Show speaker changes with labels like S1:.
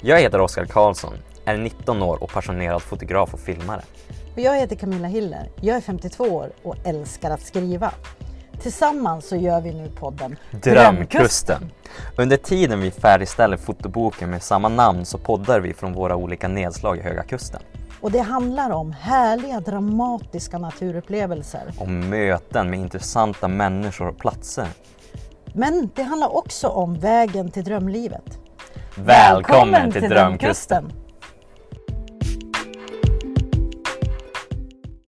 S1: Jag heter Oskar Karlsson, är 19 år och passionerad fotograf och filmare.
S2: Och jag heter Camilla Hiller. Jag är 52 år och älskar att skriva. Tillsammans så gör vi nu podden
S1: Drömkusten! Under tiden vi färdigställer fotoboken med samma namn så poddar vi från våra olika nedslag i Höga Kusten.
S2: Och det handlar om härliga dramatiska naturupplevelser.
S1: Om möten med intressanta människor och platser.
S2: Men det handlar också om vägen till drömlivet.
S1: Välkommen till Drömkusten!